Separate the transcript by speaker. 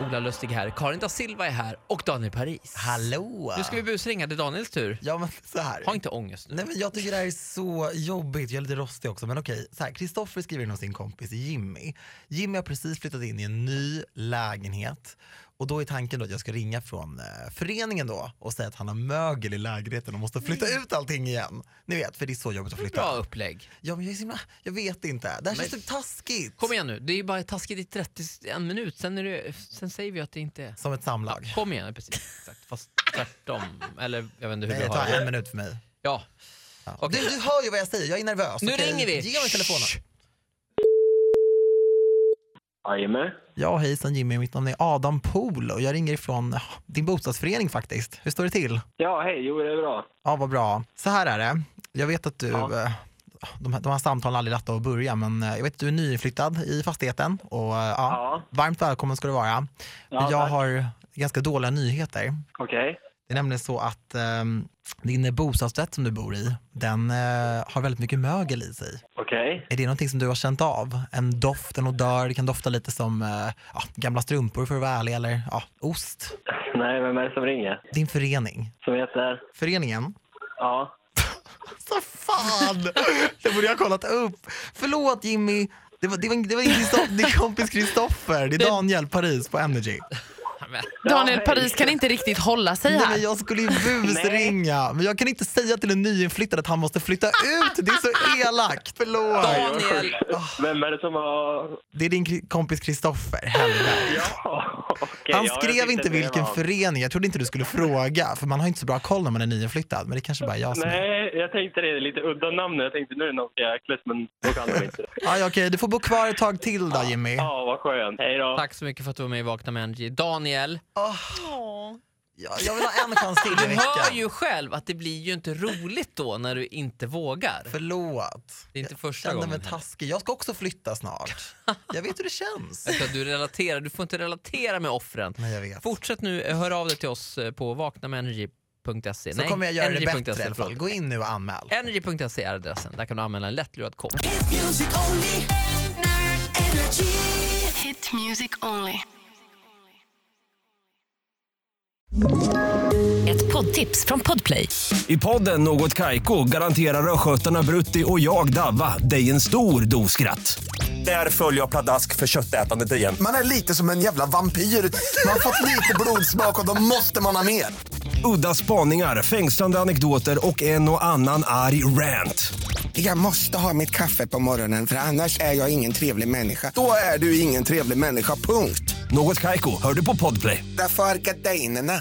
Speaker 1: jävla lustig här. Karin da Silva är här och Daniel Paris.
Speaker 2: Hallå!
Speaker 1: Nu ska vi busringa. Det är Daniels tur.
Speaker 2: Ja men så här.
Speaker 1: Ha inte ångest nu.
Speaker 2: Nej men jag tycker det här är så jobbigt, jag är lite rostig också men okej. Så här, Kristoffer skriver in om sin kompis Jimmy. Jimmy har precis flyttat in i en ny lägenhet och då är tanken då att jag ska ringa från eh, föreningen då och säga att han har mögel i lägenheten och måste flytta ut allting igen. Ni vet, för det är så jobbigt att flytta.
Speaker 1: Mm. Bra upplägg.
Speaker 2: Ja men jag är så himla, jag vet inte. Det här känns
Speaker 1: Men-
Speaker 2: typ taskigt.
Speaker 1: Kom igen nu. Det är ju bara taskigt i 30, en minut. Sen, är det, sen säger vi att det inte är...
Speaker 2: Som ett samlag.
Speaker 1: Kom igen, precis. Exakt. Fast tvärtom. Eller jag vet inte hur
Speaker 2: Nej,
Speaker 1: du
Speaker 2: ta
Speaker 1: har
Speaker 2: en
Speaker 1: det.
Speaker 2: minut för mig.
Speaker 1: Ja.
Speaker 2: Ja.
Speaker 1: Okej.
Speaker 2: Du, du hör ju vad jag säger, jag är nervös.
Speaker 1: Nu
Speaker 2: okej?
Speaker 1: ringer vi.
Speaker 2: Ge mig telefonen.
Speaker 1: Shh.
Speaker 3: Jajamän.
Speaker 2: Ja, hejsan Jimmy. Mitt namn är Adam Pool och jag ringer ifrån ja, din bostadsförening faktiskt. Hur står det till?
Speaker 3: Ja, hej. Jo, det är bra.
Speaker 2: Ja, vad bra. Så här är det. Jag vet att du,
Speaker 3: Ja.
Speaker 2: eh, de, här- de här samtalen har aldrig lätta att börja, men eh, jag vet att du är nyinflyttad i fastigheten och eh, ja,
Speaker 3: Ja,
Speaker 2: varmt välkommen ska du vara.
Speaker 3: Ja,
Speaker 2: jag
Speaker 3: tack.
Speaker 2: har ganska dåliga nyheter.
Speaker 3: okej.
Speaker 2: Det är nämligen så att eh, din bostadsrätt som du bor i, den eh, har väldigt mycket mögel i sig.
Speaker 3: Okej.
Speaker 2: Är det någonting som du har känt av? En doft, en odör, det kan dofta lite som eh, ja, gamla strumpor för att vara ärlig, eller ja, ost.
Speaker 3: Nej, vem är det som ringer?
Speaker 2: Din förening.
Speaker 3: Som heter?
Speaker 2: Föreningen?
Speaker 3: Ja.
Speaker 2: Så fan! Det borde jag ha kollat upp. Förlåt Jimmy, det var, det var, det var inte Kristoff- din kompis Kristoffer, det är Daniel Paris på Energy.
Speaker 1: Men,
Speaker 3: Ja,
Speaker 4: Daniel
Speaker 3: hej.
Speaker 4: Paris kan inte riktigt hålla sig
Speaker 2: Nej, men
Speaker 4: här.
Speaker 2: jag skulle ju busringa, men jag kan inte säga till en nyinflyttad att han måste flytta ut, det är så elakt. Förlåt.
Speaker 1: Daniel!
Speaker 3: Vem är det som har...
Speaker 2: Det är din kri- kompis Kristoffer Hellberg.
Speaker 3: Ja, okej.
Speaker 2: Han
Speaker 3: ja, jag
Speaker 2: skrev
Speaker 3: tyckte
Speaker 2: inte
Speaker 3: det
Speaker 2: vilken
Speaker 3: var-
Speaker 2: förening, jag trodde inte du skulle fråga, för man har inte så bra koll när man är nyinflyttad, men det kanske bara är jag som är.
Speaker 3: Nej, jag tänkte det. är Lite udda namn. Jag tänkte nu är det någon jäkles, men då kan de inte.
Speaker 2: Ah, ja, okej, du får bo kvar ett tag till då Jimmy.
Speaker 3: Ja, vad skönt. Hej då.
Speaker 1: Tack så mycket för att du var med i Vakna med Energy. Daniel,
Speaker 2: Ja, jag vill ha en chans till i
Speaker 1: du hör
Speaker 2: veckan.
Speaker 1: ju själv att det blir ju inte roligt då när du inte vågar.
Speaker 2: Förlåt.
Speaker 1: Det är inte första
Speaker 2: Kände
Speaker 1: gången.
Speaker 2: mig
Speaker 1: heller.
Speaker 2: taskig. Jag ska också flytta snart. Jag vet hur det känns.
Speaker 1: Alltså, Du, relaterar, du får inte relatera med offren.
Speaker 2: Nej, jag vet.
Speaker 1: Fortsätt nu, eh, hör av dig till oss eh, på vaknamenergy.se.
Speaker 2: Så kommer jag göra det bättre i alla
Speaker 1: förlåt.
Speaker 2: fall. Gå in nu och anmäl.
Speaker 1: Energy.se är adressen, där kan du anmäla en lättlurad kompis.
Speaker 5: Hit music only. Energy.
Speaker 6: Hit music only.
Speaker 7: Ett poddtips från Podplay.
Speaker 8: I podden Något Kaiko garanterar östgötarna Brutti och jag, Davva, dig en stor dos skratt. Där följer jag pladask för köttätandet igen.
Speaker 9: Man är lite som en jävla vampyr. Man har fått lite blodsmak och då måste man ha mer.
Speaker 8: Udda spaningar, fängslande anekdoter och en och annan arg rant.
Speaker 9: Jag måste ha mitt kaffe på morgonen för annars är jag ingen trevlig människa. Då är du ingen trevlig människa, punkt.
Speaker 8: Något Kaiko, hör du på Podplay.
Speaker 9: Därför arkadeinerna.